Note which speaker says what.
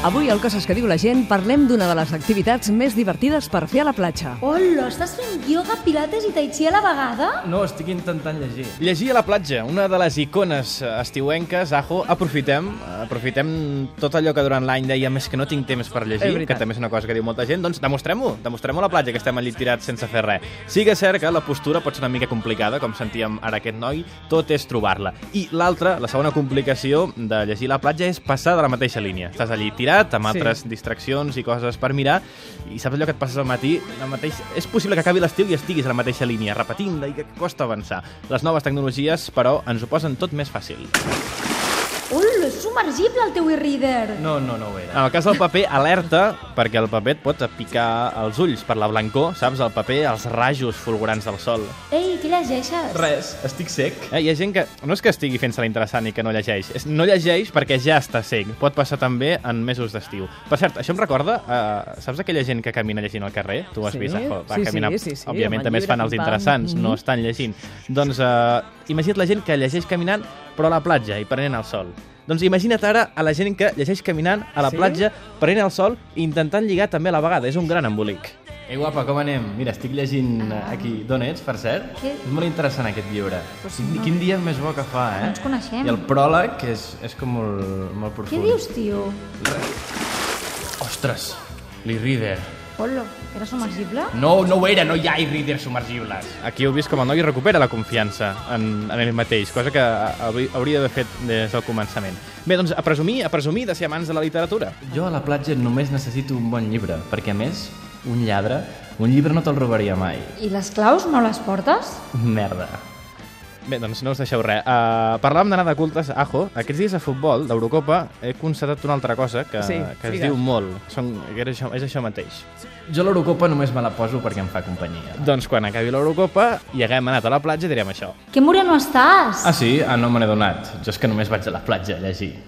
Speaker 1: Avui, al Coses que diu la gent, parlem d'una de les activitats més divertides per fer a la platja.
Speaker 2: Hola, estàs fent ioga, pilates i tai chi a la vegada?
Speaker 3: No, estic intentant llegir.
Speaker 4: Llegir a la platja, una de les icones eh, estiuenques, Ajo, aprofitem, aprofitem tot allò que durant l'any deia més que no tinc temps per
Speaker 1: És
Speaker 4: llegir,
Speaker 1: veritat.
Speaker 4: que també és una cosa que diu molta gent, doncs demostrem-ho, demostrem-ho a la platja, que estem allí tirats sense fer res. Sí que és cert que la postura pot ser una mica complicada, com sentíem ara aquest noi, tot és trobar-la. I l'altra, la segona complicació de llegir a la platja és passar de la mateixa línia. Estàs allí tirat,
Speaker 1: Sí.
Speaker 4: amb altres distraccions i coses per mirar, i saps allò que et passes al matí? La mateixa... És possible que acabi l'estiu i estiguis a la mateixa línia, repetint-la i que costa avançar. Les noves tecnologies, però, ens ho posen tot més fàcil.
Speaker 2: Hola, és submergible el teu e-reader.
Speaker 3: No, no, no ho era.
Speaker 4: En el cas del paper, alerta, perquè el paper et pot picar els ulls per la blancor, saps? El paper, els rajos fulgurants del sol.
Speaker 2: Ei, què llegeixes?
Speaker 3: Res, estic sec.
Speaker 4: Eh, hi ha gent que no és que estigui fent-se l'interessant i que no llegeix, és no llegeix perquè ja està cec. Pot passar també en mesos d'estiu. Per cert, això em recorda, eh, saps aquella gent que camina llegint al carrer? Tu ho has
Speaker 1: Sí.
Speaker 4: vist, Ajo? Va,
Speaker 1: Sí, sí,
Speaker 4: caminar,
Speaker 1: sí, sí, amb
Speaker 4: Òbviament
Speaker 1: el
Speaker 4: també es
Speaker 1: llibre,
Speaker 4: fan els
Speaker 1: pim, pam.
Speaker 4: interessants,
Speaker 1: Mhm.
Speaker 4: no estan llegint. Doncs eh, imagina't la gent que llegeix caminant però a la platja i prenent el sol. Doncs imagina't ara a la gent que llegeix caminant a la
Speaker 1: Sí?
Speaker 4: platja, prenent el sol i intentant lligar també a la vegada. És un gran embolic.
Speaker 3: Ei, guapa, com anem? Mira, estic llegint eh, aquí D'on ets, per cert.
Speaker 2: Què?
Speaker 3: És molt interessant aquest llibre.
Speaker 2: Pues
Speaker 3: Quin-
Speaker 2: no.
Speaker 3: Quin dia més bo que fa, eh?
Speaker 2: ens coneixem.
Speaker 3: I el pròleg que és, és com molt, molt profund.
Speaker 2: Què dius, tio?
Speaker 3: Ostres, l'e-reader.
Speaker 2: Hola, era submergible?
Speaker 3: No, no ho era, no hi ha e-reader submergibles.
Speaker 4: Aquí heu vist com el noi recupera la confiança en, en ell mateix, cosa que hauri- hauria d'haver fet des del començament. Bé, doncs, a presumir, a presumir de ser amants de la literatura.
Speaker 3: Jo a la platja només necessito un bon llibre, perquè a més, un lladre, un llibre no te'l robaria mai.
Speaker 2: I les claus no les portes?
Speaker 3: Merda.
Speaker 4: Bé, doncs no us deixeu res. Uh, parlàvem d'anar de cultes, ajo. Aquests dies a futbol, d'Eurocopa, he constatat una altra cosa que,
Speaker 1: Sí,
Speaker 4: que es
Speaker 1: digues.
Speaker 4: diu molt. Són, que és, això, és això mateix.
Speaker 3: Jo l'Eurocopa només me la poso perquè em fa companyia.
Speaker 4: Doncs quan acabi l'Eurocopa i haguem anat a la platja direm això.
Speaker 2: Que moreno estàs?
Speaker 3: Ah, sí? Ah, no me n'he donat. Jo és que només vaig a la platja a llegir.